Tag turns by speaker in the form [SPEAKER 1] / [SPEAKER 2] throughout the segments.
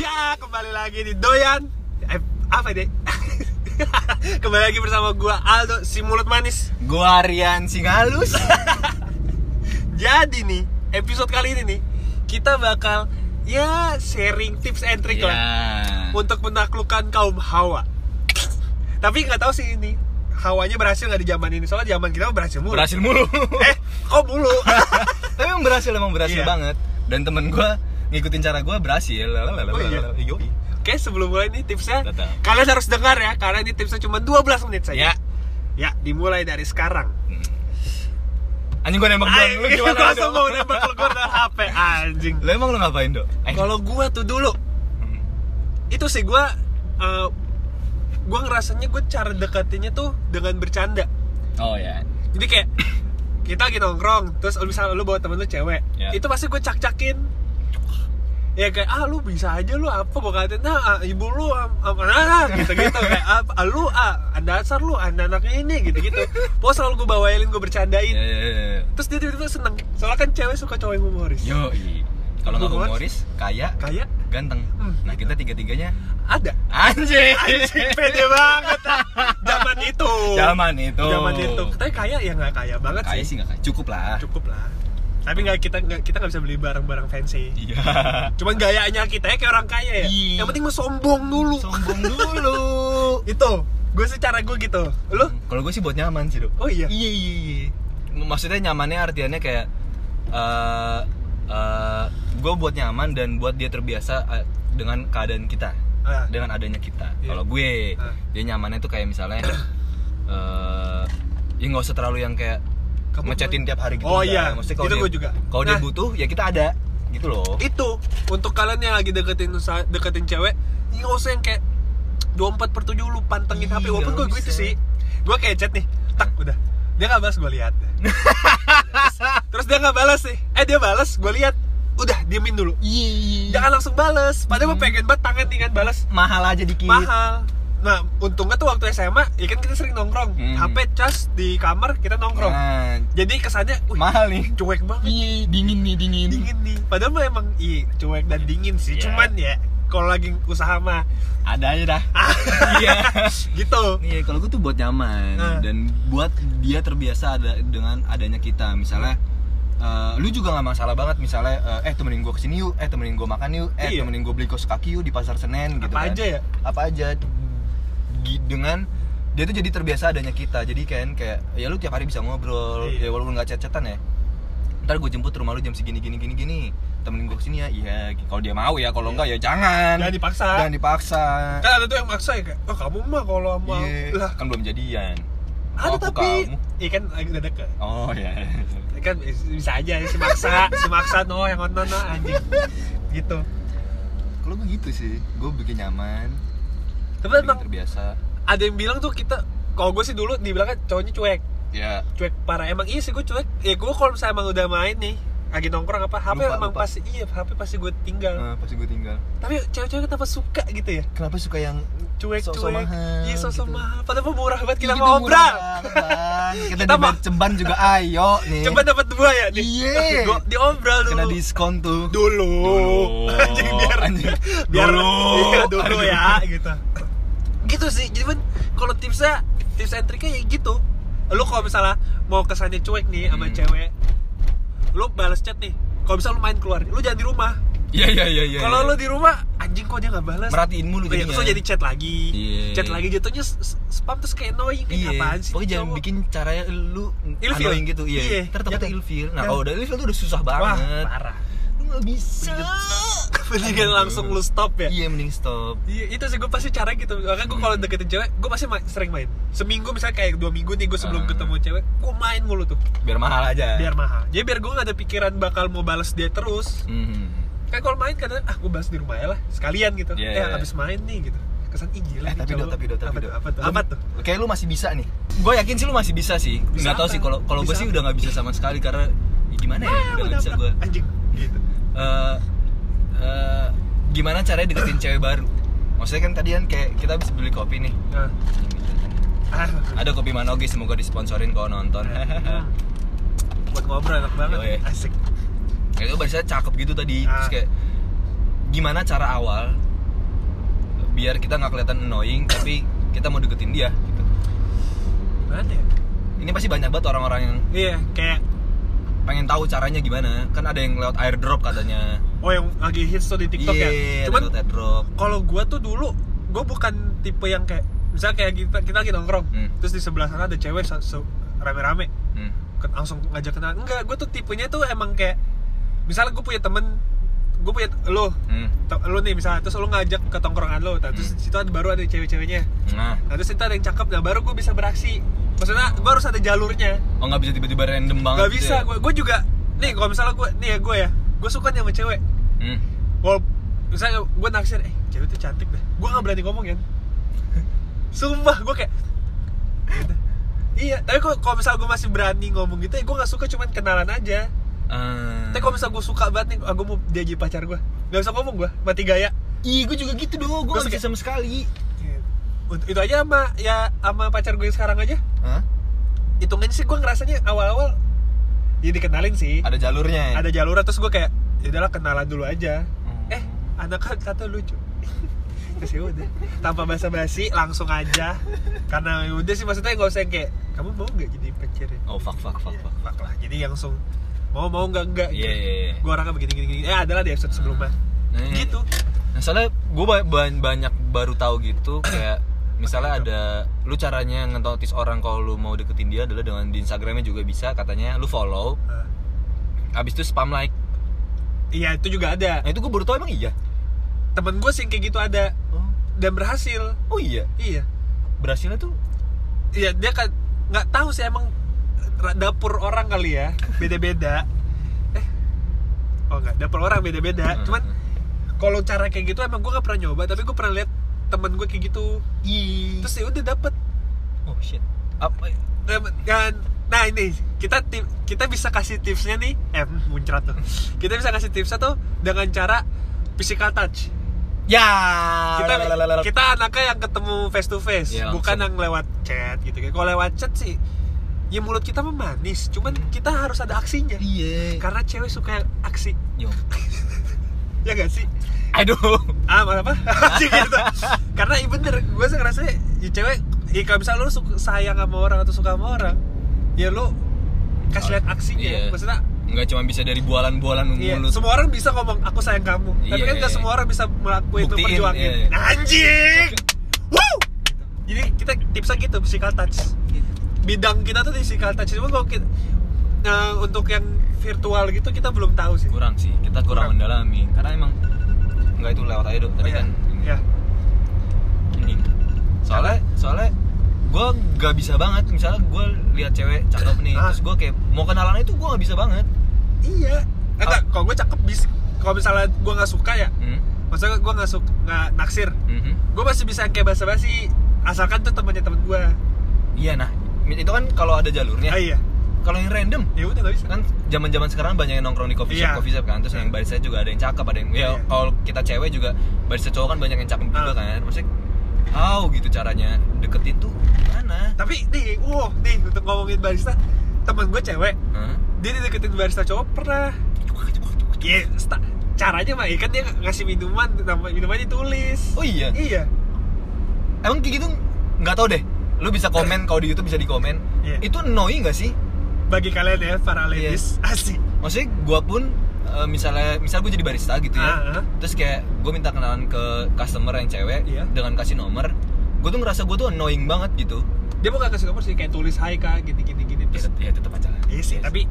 [SPEAKER 1] Ya, kembali lagi di Doyan eh, Apa deh? kembali lagi bersama gua Aldo, si mulut manis
[SPEAKER 2] Gua Rian Singalus.
[SPEAKER 1] Jadi nih, episode kali ini nih Kita bakal ya sharing tips and trick lah
[SPEAKER 2] Iya.
[SPEAKER 1] Untuk menaklukkan kaum hawa Tapi nggak tahu sih ini Hawanya berhasil nggak di zaman ini? Soalnya zaman kita mah berhasil mulu
[SPEAKER 2] Berhasil mulu.
[SPEAKER 1] Eh, kok mulu?
[SPEAKER 2] Tapi emang berhasil, emang berhasil
[SPEAKER 1] Iya.
[SPEAKER 2] banget. Dan temen gua ngikutin cara gua berhasil. Lalalala,
[SPEAKER 1] Oh, iya.
[SPEAKER 2] yoi.
[SPEAKER 1] Oke, sebelum mulai nih tipsnya
[SPEAKER 2] Tetap.
[SPEAKER 1] Kalian harus dengar ya, karena ini tipsnya cuma 12 menit saja
[SPEAKER 2] Ya.
[SPEAKER 1] Ya, dimulai dari sekarang
[SPEAKER 2] Anjing gua nembak doang. Lu gimana?
[SPEAKER 1] Gue langsung
[SPEAKER 2] dong?
[SPEAKER 1] mau nembak lu gua dari HP anjing.
[SPEAKER 2] Lu emang lu ngapain, Dok? Eh,
[SPEAKER 1] Kalau gua tuh dulu
[SPEAKER 2] hmm.
[SPEAKER 1] itu sih gua eh, gua ngerasanya gue cara deketinnya tuh dengan bercanda.
[SPEAKER 2] Oh ya.
[SPEAKER 1] Jadi kayak kita lagi nongkrong, terus lu misalnya lu bawa temen lu cewek,
[SPEAKER 2] Ya.
[SPEAKER 1] itu pasti gue cak-cakin. Ya kayak ah lu bisa aja lu apa gue katain nah ah, ibu lu apa nah gitu gitu kayak ah, ah, lu ah dasar lu anak anaknya ini gitu gitu. Pokoknya selalu gue bawain gue bercandain.
[SPEAKER 2] Ya, ya, ya.
[SPEAKER 1] Terus dia tiba-tiba seneng. Soalnya kan cewek suka cowok yang humoris.
[SPEAKER 2] Yoi. Kalau nggak
[SPEAKER 1] Humoris.
[SPEAKER 2] humoris, kaya,
[SPEAKER 1] Kayak
[SPEAKER 2] ganteng.
[SPEAKER 1] Hmm.
[SPEAKER 2] Nah, kita tiga-tiganya
[SPEAKER 1] ada
[SPEAKER 2] anjing.
[SPEAKER 1] pede banget ah. zaman itu
[SPEAKER 2] Zaman itu.
[SPEAKER 1] zaman itu tapi kaya ya nggak kaya banget
[SPEAKER 2] Kaya sih
[SPEAKER 1] sih
[SPEAKER 2] nggak kaya. Cukup lah.
[SPEAKER 1] cukup lah tapi nggak kita nggak kita nggak bisa beli barang-barang fancy
[SPEAKER 2] Iya.
[SPEAKER 1] cuman gayanya kita ya kayak orang kaya ya
[SPEAKER 2] Iya.
[SPEAKER 1] yang penting mau sombong dulu
[SPEAKER 2] Sombong dulu.
[SPEAKER 1] itu gue secara gue gitu lo
[SPEAKER 2] Kalau gue sih buat nyaman sih, Dok.
[SPEAKER 1] oh iya
[SPEAKER 2] Iya, iya, iya. Maksudnya nyamannya artiannya kayak eh eh, gue buat nyaman dan buat dia terbiasa eh, dengan keadaan kita,
[SPEAKER 1] Ah.
[SPEAKER 2] dengan adanya kita.
[SPEAKER 1] Iya.
[SPEAKER 2] Kalau gue,
[SPEAKER 1] Ah.
[SPEAKER 2] dia nyamannya tuh kayak misalnya eh ya nggak usah terlalu yang kayak
[SPEAKER 1] Kamu
[SPEAKER 2] ngechatin
[SPEAKER 1] kemana?
[SPEAKER 2] tiap hari gitu.
[SPEAKER 1] Oh,
[SPEAKER 2] enggak.
[SPEAKER 1] iya.
[SPEAKER 2] Maksudnya kalau
[SPEAKER 1] Itu
[SPEAKER 2] dia-
[SPEAKER 1] gue juga.
[SPEAKER 2] Kalau dia
[SPEAKER 1] Nah.
[SPEAKER 2] butuh ya kita ada gitu loh.
[SPEAKER 1] itu untuk kalian yang lagi deketin usaha- deketin cewek ini nggak usah yang kayak 24 per 7 lu pantengin
[SPEAKER 2] Iya,
[SPEAKER 1] HP walaupun gue
[SPEAKER 2] nggak
[SPEAKER 1] gitu
[SPEAKER 2] bisa.
[SPEAKER 1] sih gue kayak chat nih tak udah dia nggak balas gue lihat Terus- terus dia nggak balas nih eh dia balas gue lihat udah diemin dulu
[SPEAKER 2] Iya.
[SPEAKER 1] jangan langsung balas padahal gue
[SPEAKER 2] Hmm. Iya.
[SPEAKER 1] pengen banget tangan nih kan balas
[SPEAKER 2] Mahal aja dikit.
[SPEAKER 1] mahal nah untungnya tuh waktu SMA ya kan kita sering nongkrong
[SPEAKER 2] Hmm.
[SPEAKER 1] HP cas di kamar kita nongkrong
[SPEAKER 2] Nah,
[SPEAKER 1] jadi kesannya wih
[SPEAKER 2] mahal nih.
[SPEAKER 1] cuek banget
[SPEAKER 2] Iya, dingin nih,
[SPEAKER 1] dingin nih padahal mah emang iya cuek dan dingin sih
[SPEAKER 2] Iya.
[SPEAKER 1] cuman ya kalau lagi usaha mah
[SPEAKER 2] Ada aja dah.
[SPEAKER 1] Ah,
[SPEAKER 2] Iya.
[SPEAKER 1] gitu
[SPEAKER 2] Iya, kalau gue tuh buat nyaman
[SPEAKER 1] Nah.
[SPEAKER 2] dan buat dia terbiasa ada dengan adanya kita. Misalnya eh, lu juga nggak masalah banget misalnya eh, eh temenin gue kesini yuk, eh temenin gue makan yuk, eh
[SPEAKER 1] Iya.
[SPEAKER 2] temenin gue beli kos kaki yuk di pasar Senen gitu
[SPEAKER 1] apa
[SPEAKER 2] kan.
[SPEAKER 1] aja ya
[SPEAKER 2] Apa aja Gi- dengan dia tuh jadi terbiasa adanya kita. Jadi kan kayak ya lu tiap hari bisa ngobrol,
[SPEAKER 1] Iya.
[SPEAKER 2] ya walaupun nggak chat-chatan ya. Ntar gue jemput rumah lu jam segini gini gini gini. Temenin gue kesini ya, iya. Kalau dia mau ya, kalau enggak ya jangan.
[SPEAKER 1] Iya. jangan dipaksa
[SPEAKER 2] Jangan dipaksa.
[SPEAKER 1] kan ada tuh yang maksa ya kayak oh kamu mah kalau sama
[SPEAKER 2] Iya,
[SPEAKER 1] lah
[SPEAKER 2] kan belum jadian.
[SPEAKER 1] ada
[SPEAKER 2] Aku
[SPEAKER 1] tapi
[SPEAKER 2] kamu.
[SPEAKER 1] iya kan lagi udah deket
[SPEAKER 2] Oh ya.
[SPEAKER 1] Iya kan bisa aja si maksa si maksa no yang nonton no anjing gitu
[SPEAKER 2] Kalau gue gitu sih, gue bikin nyaman,
[SPEAKER 1] tapi
[SPEAKER 2] bikin
[SPEAKER 1] emang
[SPEAKER 2] terbiasa.
[SPEAKER 1] ada yang bilang tuh kita kalau gue sih dulu dibilangnya cowoknya cuek
[SPEAKER 2] Ya.
[SPEAKER 1] cuek parah emang iya sih gue cuek ya gue kalau misalnya emang udah main nih lagi nongkrong apa HP
[SPEAKER 2] Lupa,
[SPEAKER 1] emang
[SPEAKER 2] lupa.
[SPEAKER 1] pasti iya HP pasti gue tinggal
[SPEAKER 2] eh, pasti gue tinggal.
[SPEAKER 1] tapi cewek-cewek kenapa suka gitu ya
[SPEAKER 2] Kenapa suka yang
[SPEAKER 1] cuek
[SPEAKER 2] Sok-sok
[SPEAKER 1] cuek
[SPEAKER 2] mahal,
[SPEAKER 1] iya sosok
[SPEAKER 2] gitu.
[SPEAKER 1] mahal padahal mah murah banget kita
[SPEAKER 2] Gitu,
[SPEAKER 1] ngobrol
[SPEAKER 2] murah banget. Kita,
[SPEAKER 1] Kita
[SPEAKER 2] di
[SPEAKER 1] mah-
[SPEAKER 2] Cemban juga ayo nih.
[SPEAKER 1] coba dapat dua ya nih
[SPEAKER 2] Iya.
[SPEAKER 1] Gua- diobrol dulu
[SPEAKER 2] kena diskon tuh.
[SPEAKER 1] dulu anjing biar
[SPEAKER 2] Anjing.
[SPEAKER 1] biar
[SPEAKER 2] Dulu.
[SPEAKER 1] iya, dulu
[SPEAKER 2] Aduh.
[SPEAKER 1] ya gitu gitu sih jadi men, kalau tipsnya tips and triknya ya gitu lu kalau misalnya mau kesannya cuek nih sama
[SPEAKER 2] Hmm.
[SPEAKER 1] cewek lu balas chat nih kalau bisa lu main keluar lu jangan di rumah
[SPEAKER 2] Iya iya iya iya.
[SPEAKER 1] kalau lu di rumah anjing kok dia nggak balas
[SPEAKER 2] merhatiin mulu
[SPEAKER 1] Iya,
[SPEAKER 2] jadinya.
[SPEAKER 1] terus jadi chat lagi,
[SPEAKER 2] Iya.
[SPEAKER 1] chat lagi jatuhnya s- s- spam terus kayak annoying kayak
[SPEAKER 2] Iya,
[SPEAKER 1] apaan sih?
[SPEAKER 2] pokoknya jangan
[SPEAKER 1] cowok?
[SPEAKER 2] bikin caranya lu
[SPEAKER 1] Ilfeel.
[SPEAKER 2] annoying gitu,
[SPEAKER 1] Iya,
[SPEAKER 2] iya. Ntar takutnya
[SPEAKER 1] jangan.
[SPEAKER 2] ilfeel. Nah,
[SPEAKER 1] Jangan.
[SPEAKER 2] kalau udah ilfeel tuh udah susah
[SPEAKER 1] Wah,
[SPEAKER 2] banget.
[SPEAKER 1] parah.
[SPEAKER 2] Lu nggak bisa.
[SPEAKER 1] Mendingan langsung lu stop ya.
[SPEAKER 2] Iya, mending stop.
[SPEAKER 1] Iya, itu sih gue pasti cara gitu. Makanya gue kalau deketin cewek, gue pasti ma- sering main. Seminggu misalnya kayak dua minggu nih gue sebelum
[SPEAKER 2] Ah.
[SPEAKER 1] ketemu cewek, gue main mulu tuh.
[SPEAKER 2] Biar mahal aja.
[SPEAKER 1] Biar mahal. Jadi biar gue gak ada pikiran bakal mau balas dia terus.
[SPEAKER 2] Mhm.
[SPEAKER 1] Kayak kalau main kadang ah gue balas di rumah ya lah, sekalian gitu.
[SPEAKER 2] Iya,
[SPEAKER 1] Eh
[SPEAKER 2] iya.
[SPEAKER 1] abis main nih gitu. Kesan ih gila
[SPEAKER 2] Eh,
[SPEAKER 1] nih
[SPEAKER 2] tapi
[SPEAKER 1] cowok.
[SPEAKER 2] do, tapi do, tapi
[SPEAKER 1] apa
[SPEAKER 2] do.
[SPEAKER 1] tuh? Apa tuh?
[SPEAKER 2] Lu-
[SPEAKER 1] Apa tuh?
[SPEAKER 2] Kayak lu masih bisa nih. Gue yakin sih lu masih bisa sih.
[SPEAKER 1] Bisa
[SPEAKER 2] Nggak tahu
[SPEAKER 1] apa?
[SPEAKER 2] sih kalau kalau gue
[SPEAKER 1] Bisa
[SPEAKER 2] sih
[SPEAKER 1] apa? Ah,
[SPEAKER 2] udah nggak bisa sama sekali karena ya gimana ya, udah nggak bisa gue.
[SPEAKER 1] Anjing gitu.
[SPEAKER 2] Eh, eh, gimana caranya deketin cewek baru? Maksudnya kan tadi kan kayak kita bisa beli kopi nih.
[SPEAKER 1] Nah. Ah.
[SPEAKER 2] Ada kopi Manogi semoga disponsorin kalau nonton.
[SPEAKER 1] Hmm. Nah, buat ngobrol enak banget
[SPEAKER 2] Yoi.
[SPEAKER 1] asik
[SPEAKER 2] Ya, Kayak itu barisnya cakep gitu tadi. Terus
[SPEAKER 1] Ah.
[SPEAKER 2] kayak gimana cara awal biar kita nggak kelihatan annoying tapi kita mau deketin dia gitu.
[SPEAKER 1] Gimana ya?
[SPEAKER 2] ini pasti banyak banget orang-orang yang
[SPEAKER 1] Iya, kayak
[SPEAKER 2] pengen tahu caranya gimana kan ada yang lewat airdrop katanya
[SPEAKER 1] oh yang lagi hits tuh di TikTok
[SPEAKER 2] Iya, ada
[SPEAKER 1] ya. Cuman
[SPEAKER 2] lewat airdrop
[SPEAKER 1] kalau gua tuh dulu gua bukan tipe yang kayak misalnya kayak kita kita lagi nongkrong
[SPEAKER 2] Hmm.
[SPEAKER 1] terus di sebelah sana ada cewek se- se- rame-rame
[SPEAKER 2] Hmm.
[SPEAKER 1] ke- langsung ngajak kenal enggak gue tuh tipenya tuh emang kayak misalnya gue punya temen gue punya lo
[SPEAKER 2] Hmm.
[SPEAKER 1] te- lo nih misalnya terus lo ngajak ke tongkrongan lo terus
[SPEAKER 2] Hmm.
[SPEAKER 1] di situ ada baru ada cewek-ceweknya
[SPEAKER 2] nah
[SPEAKER 1] nah terus itu ada yang cakep nah baru gue bisa beraksi maksudnya gue harus ada jalurnya
[SPEAKER 2] oh nggak bisa tiba-tiba random banget
[SPEAKER 1] nggak
[SPEAKER 2] gitu
[SPEAKER 1] bisa
[SPEAKER 2] ya?
[SPEAKER 1] gue gue juga nih kalau misalnya gue nih ya gue ya gue suka nih sama cewek
[SPEAKER 2] Hmm.
[SPEAKER 1] Wal misalnya gue naksir, eh cewek itu cantik deh. Gue nggak berani ngomong kan. Sumpah gue kayak. gitu. Iya, tapi kalau kalau misalnya gue masih berani ngomong gitu, ya gue nggak suka cuman kenalan aja.
[SPEAKER 2] Ah.
[SPEAKER 1] Tapi kalau misalnya gue suka banget nih, ah, gue mau dia jadi pacar gue, nggak bisa ngomong gue, mati gaya.
[SPEAKER 2] Ih, gue juga gitu
[SPEAKER 1] Terus
[SPEAKER 2] dong, gue gak bisa
[SPEAKER 1] kayak-
[SPEAKER 2] sama sekali
[SPEAKER 1] Ut- Itu aja sama ya sama pacar gue yang sekarang aja.
[SPEAKER 2] Hah?
[SPEAKER 1] Hitungannya sih gue ngerasanya awal-awal ya dikenalin sih,
[SPEAKER 2] Ada jalurnya ya?
[SPEAKER 1] ada jalur terus gue kayak ya udahlah kenalan dulu aja.
[SPEAKER 2] Hmm.
[SPEAKER 1] eh anak kan kata lucu terus ya udah tanpa basa-basi langsung aja karena ya udah sih maksudnya nggak usah yang kayak kamu mau nggak jadi pacar ya
[SPEAKER 2] Oh fuck fuck fuck
[SPEAKER 1] Ya,
[SPEAKER 2] fuck
[SPEAKER 1] fuck lah jadi langsung mau mau nggak nggak
[SPEAKER 2] Iya
[SPEAKER 1] gitu.
[SPEAKER 2] iya iya
[SPEAKER 1] gue orangnya begini gini gini eh adalah di episode sebelumnya
[SPEAKER 2] Nah, iya.
[SPEAKER 1] gitu
[SPEAKER 2] Nah, soalnya gue banyak baru tahu gitu kayak misalnya ada lu caranya ngentotis orang kalau lu mau deketin dia adalah dengan di Instagramnya juga bisa katanya lu follow
[SPEAKER 1] Nah,
[SPEAKER 2] abis itu spam like
[SPEAKER 1] iya itu juga ada
[SPEAKER 2] nah itu gue baru tahu emang iya
[SPEAKER 1] temen gue sih yang kayak gitu ada
[SPEAKER 2] oh,
[SPEAKER 1] dan berhasil
[SPEAKER 2] iya
[SPEAKER 1] iya
[SPEAKER 2] berhasilnya tuh
[SPEAKER 1] iya dia kan nggak tahu sih emang ra- dapur orang kali ya beda-beda eh oh nggak dapur orang beda-beda cuman kalau cara kayak gitu emang gue gak pernah nyoba tapi gue pernah lihat temen gue kayak gitu
[SPEAKER 2] Ih.
[SPEAKER 1] terus ya udah dapet
[SPEAKER 2] oh shit apa
[SPEAKER 1] Dapet. Dan- nah ini kita ti- kita bisa kasih tipsnya nih eh muncrat tuh kita bisa kasih tipsnya tuh dengan cara physical touch
[SPEAKER 2] ya
[SPEAKER 1] kita
[SPEAKER 2] lalalala.
[SPEAKER 1] kita anaknya yang ketemu face to face
[SPEAKER 2] Iya,
[SPEAKER 1] bukan yang
[SPEAKER 2] langsung.
[SPEAKER 1] lewat chat gitu kan kalau lewat chat sih ya mulut kita mah manis cuman kita harus ada aksinya
[SPEAKER 2] Hmm. iya
[SPEAKER 1] karena cewek suka yang aksi
[SPEAKER 2] Yo.
[SPEAKER 1] ya gak sih
[SPEAKER 2] aduh
[SPEAKER 1] ah malah apa Anjing gitu karena iya bener gue sih ngerasa ya cewek ya kalau misalnya lu suka, sayang sama orang atau suka sama orang ya lu kasih lihat aksinya
[SPEAKER 2] Iya.
[SPEAKER 1] ya, maksudnya
[SPEAKER 2] nggak cuma bisa dari bualan-bualan
[SPEAKER 1] iya,
[SPEAKER 2] mulut
[SPEAKER 1] semua orang bisa ngomong aku sayang kamu tapi
[SPEAKER 2] Iya.
[SPEAKER 1] kan gak semua orang bisa melakukan itu
[SPEAKER 2] Buktiin,
[SPEAKER 1] perjuangin
[SPEAKER 2] iya, iya.
[SPEAKER 1] anjing wow jadi kita tipsnya gitu physical touch
[SPEAKER 2] Iya.
[SPEAKER 1] bidang kita tuh di physical touch cuma kalau kita nah, untuk yang virtual gitu kita belum tahu sih
[SPEAKER 2] kurang sih kita kurang,
[SPEAKER 1] Kurang.
[SPEAKER 2] mendalami karena emang nggak itu lewat aja dok tadi kan ini.
[SPEAKER 1] ya
[SPEAKER 2] Ini. soalnya soalnya gue nggak bisa banget misalnya gue lihat cewek cakep nih
[SPEAKER 1] Ah.
[SPEAKER 2] terus gue kayak mau kenalan itu gue nggak bisa banget
[SPEAKER 1] iya Eh, enggak
[SPEAKER 2] Ah.
[SPEAKER 1] kalau gue cakep bis kalau misalnya gue nggak suka ya
[SPEAKER 2] hmm.
[SPEAKER 1] maksudnya gue nggak suka nggak naksir
[SPEAKER 2] mhm.
[SPEAKER 1] gue masih bisa yang kayak basa-basi asalkan tuh temannya teman gue
[SPEAKER 2] iya nah itu kan kalau ada jalurnya
[SPEAKER 1] ah iya
[SPEAKER 2] kalau yang random
[SPEAKER 1] ya udah nggak bisa
[SPEAKER 2] kan zaman zaman sekarang banyak yang nongkrong di coffee shop
[SPEAKER 1] Iya.
[SPEAKER 2] coffee shop kan terus yang barista juga ada yang cakep ada yang ya
[SPEAKER 1] Iya.
[SPEAKER 2] kalau kita cewek juga barista cowok kan banyak yang cakep juga
[SPEAKER 1] Ah.
[SPEAKER 2] kan maksudnya how gitu caranya deketin tuh gimana
[SPEAKER 1] tapi nih wow nih untuk ngomongin barista teman gue cewek
[SPEAKER 2] Hah?
[SPEAKER 1] dia dideketin barista cowok pernah ya sta- caranya mah ya kan dia ngasih minuman nama minumannya tulis
[SPEAKER 2] oh iya
[SPEAKER 1] iya
[SPEAKER 2] emang kayak gitu nggak tau deh lu bisa komen kalau di YouTube bisa dikomen
[SPEAKER 1] Iya.
[SPEAKER 2] itu annoying gak sih
[SPEAKER 1] bagi kalian ya para ladies asik
[SPEAKER 2] maksudnya gua pun eh, misalnya misal gue jadi barista gitu ya
[SPEAKER 1] Ah, ah.
[SPEAKER 2] terus kayak gue minta kenalan ke customer yang cewek
[SPEAKER 1] Iya.
[SPEAKER 2] dengan kasih nomor gue tuh ngerasa gue tuh annoying banget gitu
[SPEAKER 1] dia mau nggak kasih nomor sih kayak tulis hai kak gini gini gini terus
[SPEAKER 2] ya tetap aja lah
[SPEAKER 1] iya sih tapi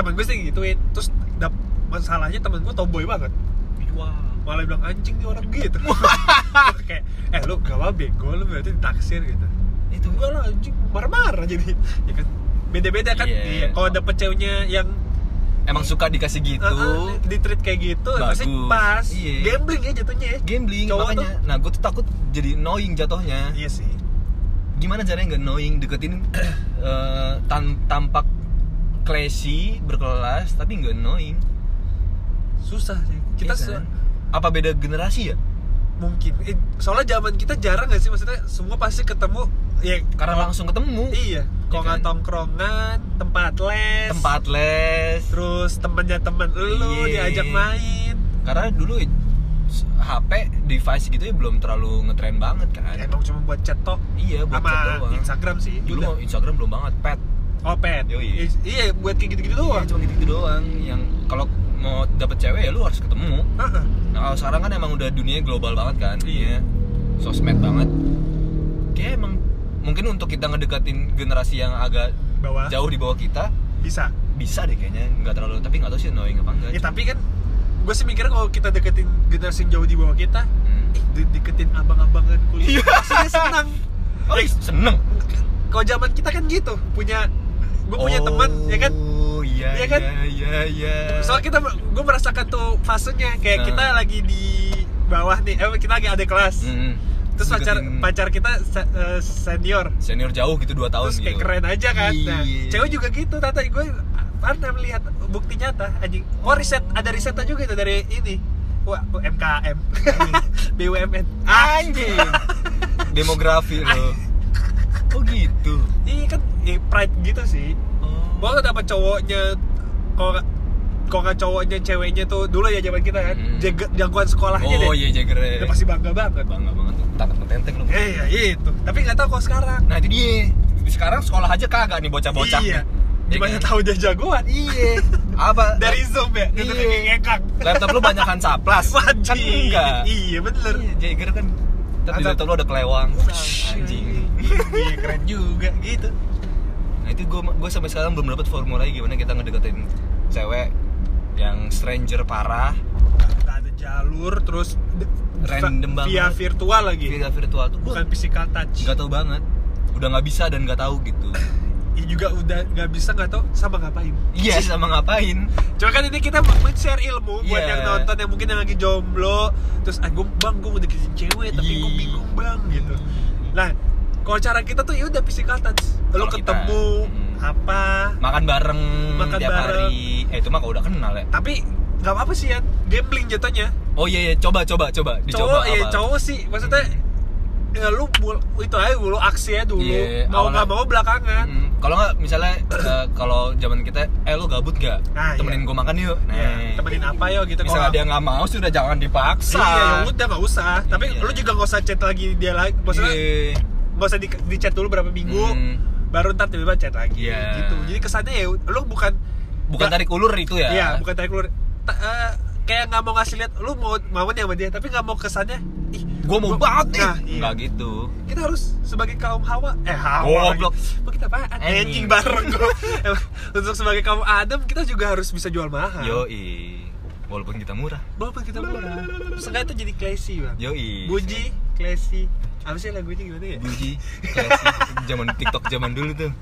[SPEAKER 1] teman gue sih gituin terus dap- masalahnya teman gue tomboy banget malah bilang anjing nih orang gitu kayak eh lu gak apa bego lu berarti ditaksir gitu
[SPEAKER 2] itu
[SPEAKER 1] enggak lah anjing marah-marah jadi ya kan beda-beda kan
[SPEAKER 2] Iya.
[SPEAKER 1] Iya. kalau dapet ceweknya yang ah,
[SPEAKER 2] emang suka dikasih gitu
[SPEAKER 1] di treat kayak gitu pasti
[SPEAKER 2] Bagus.
[SPEAKER 1] pas
[SPEAKER 2] Iya.
[SPEAKER 1] gambling ya jatuhnya ya
[SPEAKER 2] gambling
[SPEAKER 1] Cowok
[SPEAKER 2] makanya nah gue tuh takut jadi annoying jatuhnya
[SPEAKER 1] iya sih
[SPEAKER 2] gimana caranya nggak annoying deketin eh, tan- tampak classy berkelas tapi nggak annoying
[SPEAKER 1] susah sih kita
[SPEAKER 2] Iya kan?
[SPEAKER 1] su-
[SPEAKER 2] apa beda generasi ya
[SPEAKER 1] mungkin Eh, soalnya zaman kita jarang gak sih maksudnya semua pasti ketemu ya
[SPEAKER 2] karena langsung ketemu
[SPEAKER 1] iya kalau
[SPEAKER 2] Iya
[SPEAKER 1] nggak
[SPEAKER 2] kan?
[SPEAKER 1] tongkrongan tempat les
[SPEAKER 2] tempat les
[SPEAKER 1] terus temennya temen lu
[SPEAKER 2] Iya.
[SPEAKER 1] diajak main
[SPEAKER 2] karena dulu s- HP device gitu ya belum terlalu ngetren banget kan
[SPEAKER 1] Iya, emang cuma buat chat tok
[SPEAKER 2] iya buat chat
[SPEAKER 1] sama
[SPEAKER 2] doang
[SPEAKER 1] Instagram sih
[SPEAKER 2] dulu
[SPEAKER 1] udah.
[SPEAKER 2] mau Instagram belum banget pet
[SPEAKER 1] oh pet
[SPEAKER 2] Yoi.
[SPEAKER 1] Is- iya buat kayak gitu-gitu
[SPEAKER 2] Iya,
[SPEAKER 1] doang
[SPEAKER 2] cuma gitu-gitu doang yang kalau mau dapet cewek ya lu harus ketemu
[SPEAKER 1] Heeh.
[SPEAKER 2] nah kalau sekarang kan emang udah dunia global banget kan iya sosmed banget kayak emang mungkin untuk kita ngedekatin generasi yang agak
[SPEAKER 1] bawah
[SPEAKER 2] jauh di bawah kita
[SPEAKER 1] bisa
[SPEAKER 2] bisa deh kayaknya nggak terlalu tapi nggak tahu sih annoying apa enggak
[SPEAKER 1] ya tapi kan gue sih mikirnya kalau kita deketin generasi yang jauh di bawah kita ih
[SPEAKER 2] Hmm.
[SPEAKER 1] de- deketin abang-abangan kuliah
[SPEAKER 2] Iya.
[SPEAKER 1] pastinya senang
[SPEAKER 2] oh
[SPEAKER 1] Ya,
[SPEAKER 2] seneng
[SPEAKER 1] kalau zaman kita kan gitu punya gue punya
[SPEAKER 2] Oh,
[SPEAKER 1] teman ya kan
[SPEAKER 2] iya
[SPEAKER 1] Iya kan?
[SPEAKER 2] iya iya
[SPEAKER 1] soalnya kita gue merasakan tuh fasenya kayak
[SPEAKER 2] Nah.
[SPEAKER 1] kita lagi di bawah nih eh kita lagi ada kelas
[SPEAKER 2] Mm-mm.
[SPEAKER 1] terus pacar
[SPEAKER 2] Hmm. Deketin
[SPEAKER 1] pacar kita se- eh, senior
[SPEAKER 2] senior jauh gitu 2 tahun
[SPEAKER 1] terus kayak
[SPEAKER 2] gitu
[SPEAKER 1] keren aja kan nah
[SPEAKER 2] Iya.
[SPEAKER 1] cewek juga gitu tata gue pernah melihat bukti nyata anjing oh riset ada risetnya juga itu dari ini Wah, MKM BUMN ah
[SPEAKER 2] anjing demografi lo oh gitu
[SPEAKER 1] ini kan eh, pride gitu sih
[SPEAKER 2] oh.
[SPEAKER 1] Bahkan dapat cowoknya kalau nggak- kalau nggak cowoknya ceweknya tuh dulu ya zaman kita kan
[SPEAKER 2] Hmm.
[SPEAKER 1] jaga- jagoan sekolahnya
[SPEAKER 2] oh
[SPEAKER 1] deh
[SPEAKER 2] iya jagere
[SPEAKER 1] udah pasti bangga banget
[SPEAKER 2] bangga banget tuh takut ketenteng lu
[SPEAKER 1] Eh, ya itu tapi nggak tahu kalau sekarang
[SPEAKER 2] nah itu dia sekarang sekolah aja kagak nih bocah-bocah
[SPEAKER 1] iya
[SPEAKER 2] nih.
[SPEAKER 1] gimana
[SPEAKER 2] Ya kan?
[SPEAKER 1] tahu dia jagoan
[SPEAKER 2] iya apa
[SPEAKER 1] dari zoom ya dari
[SPEAKER 2] Iya.
[SPEAKER 1] ngekang
[SPEAKER 2] laptop lu banyakan saplas kan
[SPEAKER 1] Wajib.
[SPEAKER 2] enggak
[SPEAKER 1] Iya bener.
[SPEAKER 2] Iya, Jaeger kan tapi di
[SPEAKER 1] Atau-
[SPEAKER 2] laptop lu ada kelewang
[SPEAKER 1] Wush,
[SPEAKER 2] anjing
[SPEAKER 1] Iya keren juga gitu.
[SPEAKER 2] nah itu gue gue sampai sekarang belum dapat formulanya gimana kita ngedeketin cewek yang stranger parah
[SPEAKER 1] Gak ada jalur terus de-
[SPEAKER 2] Random
[SPEAKER 1] va- via
[SPEAKER 2] banget.
[SPEAKER 1] virtual lagi.
[SPEAKER 2] via virtual tuh gue
[SPEAKER 1] Iya. Bukan physical touch.
[SPEAKER 2] nggak tahu banget udah nggak bisa dan nggak tahu gitu
[SPEAKER 1] Ini Ya juga udah nggak bisa nggak tahu sama ngapain.
[SPEAKER 2] iya sama ngapain
[SPEAKER 1] Cuma kan ini kita men- share ilmu buat
[SPEAKER 2] Iya.
[SPEAKER 1] yang nonton yang mungkin yang lagi jomblo terus ah gue bang gue udah deketin cewek tapi gue
[SPEAKER 2] Iya.
[SPEAKER 1] bingung bang gitu. Nah kalau cara kita tuh ya udah physical touch. Lo
[SPEAKER 2] Kalau kita,
[SPEAKER 1] ketemu
[SPEAKER 2] hmm.
[SPEAKER 1] apa
[SPEAKER 2] makan bareng
[SPEAKER 1] Makan
[SPEAKER 2] tiap
[SPEAKER 1] bareng.
[SPEAKER 2] hari eh itu mah kalau udah kenal ya
[SPEAKER 1] tapi nggak apa-apa sih ya gambling jatuhnya
[SPEAKER 2] oh iya iya coba coba coba
[SPEAKER 1] cowok
[SPEAKER 2] dicoba
[SPEAKER 1] ya
[SPEAKER 2] apa?
[SPEAKER 1] cowok sih maksudnya ya lu mul- itu aja dulu aksi aja dulu
[SPEAKER 2] Iya,
[SPEAKER 1] mau
[SPEAKER 2] awalnya-
[SPEAKER 1] nggak mau belakangan
[SPEAKER 2] Mm, kalau nggak misalnya eh, kalau zaman kita eh lu gabut nggak
[SPEAKER 1] Nah,
[SPEAKER 2] temenin
[SPEAKER 1] iya.
[SPEAKER 2] gue makan yuk nah
[SPEAKER 1] ya, temenin apa yo gitu
[SPEAKER 2] misalnya
[SPEAKER 1] kalau-
[SPEAKER 2] dia nggak mau sudah jangan dipaksa
[SPEAKER 1] Iya, ya udah nggak usah. Tapi
[SPEAKER 2] Iya.
[SPEAKER 1] lu juga nggak usah chat lagi dia lagi. Maksudnya
[SPEAKER 2] Iya.
[SPEAKER 1] nggak usah di, di chat dulu berapa minggu,
[SPEAKER 2] Hmm.
[SPEAKER 1] baru ntar tiba-tiba chat lagi.
[SPEAKER 2] Iya.
[SPEAKER 1] Gitu. Jadi kesannya ya lu bukan
[SPEAKER 2] bukan
[SPEAKER 1] nggak-
[SPEAKER 2] tarik ulur itu ya
[SPEAKER 1] Iya, bukan tarik ulur. Ta- eh, kayak nggak mau ngasih lihat lu mau mau nih sama dia, tapi nggak mau kesannya. Ih,
[SPEAKER 2] gue mau banget nih
[SPEAKER 1] Nah, iya.
[SPEAKER 2] nggak gitu
[SPEAKER 1] kita harus sebagai kaum hawa eh hawa
[SPEAKER 2] Goblok.
[SPEAKER 1] lagi. Emang kita apaan?
[SPEAKER 2] Anjing.
[SPEAKER 1] anjing bareng gua. Emang, untuk sebagai kaum Adam kita juga harus bisa jual mahal
[SPEAKER 2] yoi walaupun kita murah
[SPEAKER 1] walaupun kita murah seenggaknya itu jadi classy bang
[SPEAKER 2] yoi
[SPEAKER 1] buji classy apa sih lagunya gimana ya
[SPEAKER 2] buji Klasik. zaman tiktok zaman dulu tuh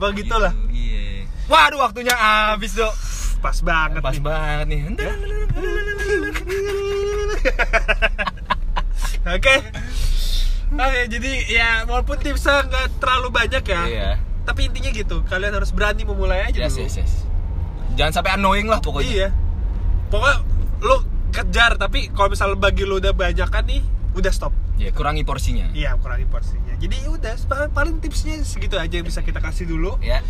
[SPEAKER 1] bang gitulah
[SPEAKER 2] Gitu, iya waduh waktunya habis dok
[SPEAKER 1] pas banget
[SPEAKER 2] pas
[SPEAKER 1] nih.
[SPEAKER 2] banget nih
[SPEAKER 1] Ya. oke Oke, jadi ya walaupun tipsnya nggak terlalu banyak ya
[SPEAKER 2] iya
[SPEAKER 1] tapi intinya gitu kalian harus berani memulai aja
[SPEAKER 2] yes
[SPEAKER 1] dulu
[SPEAKER 2] yes yes jangan sampai annoying lah pokoknya
[SPEAKER 1] Iya. Pokoknya lu kejar tapi kalau misalnya bagi lu udah banyak kan nih, udah stop.
[SPEAKER 2] Iya, kurangi porsinya
[SPEAKER 1] Iya, kurangi porsinya. Jadi ya udah pa- paling tipsnya segitu aja yang bisa kita kasih dulu.
[SPEAKER 2] ya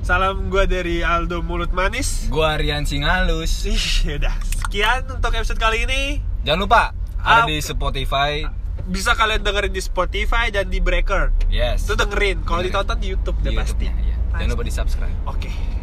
[SPEAKER 1] Salam gua dari Aldo Mulut Manis.
[SPEAKER 2] gua Rian Singalus
[SPEAKER 1] Ih, ya udah. Sekian untuk episode kali ini.
[SPEAKER 2] jangan lupa ada
[SPEAKER 1] Up.
[SPEAKER 2] di Spotify
[SPEAKER 1] Bisa kalian dengerin di Spotify dan di Breaker.
[SPEAKER 2] yes
[SPEAKER 1] Itu dengerin, kalau
[SPEAKER 2] Dengerin.
[SPEAKER 1] ditonton Iya. di iya. YouTube
[SPEAKER 2] Di
[SPEAKER 1] deh pasti.
[SPEAKER 2] YouTube-nya, iya. jangan lupa di subscribe
[SPEAKER 1] Oke.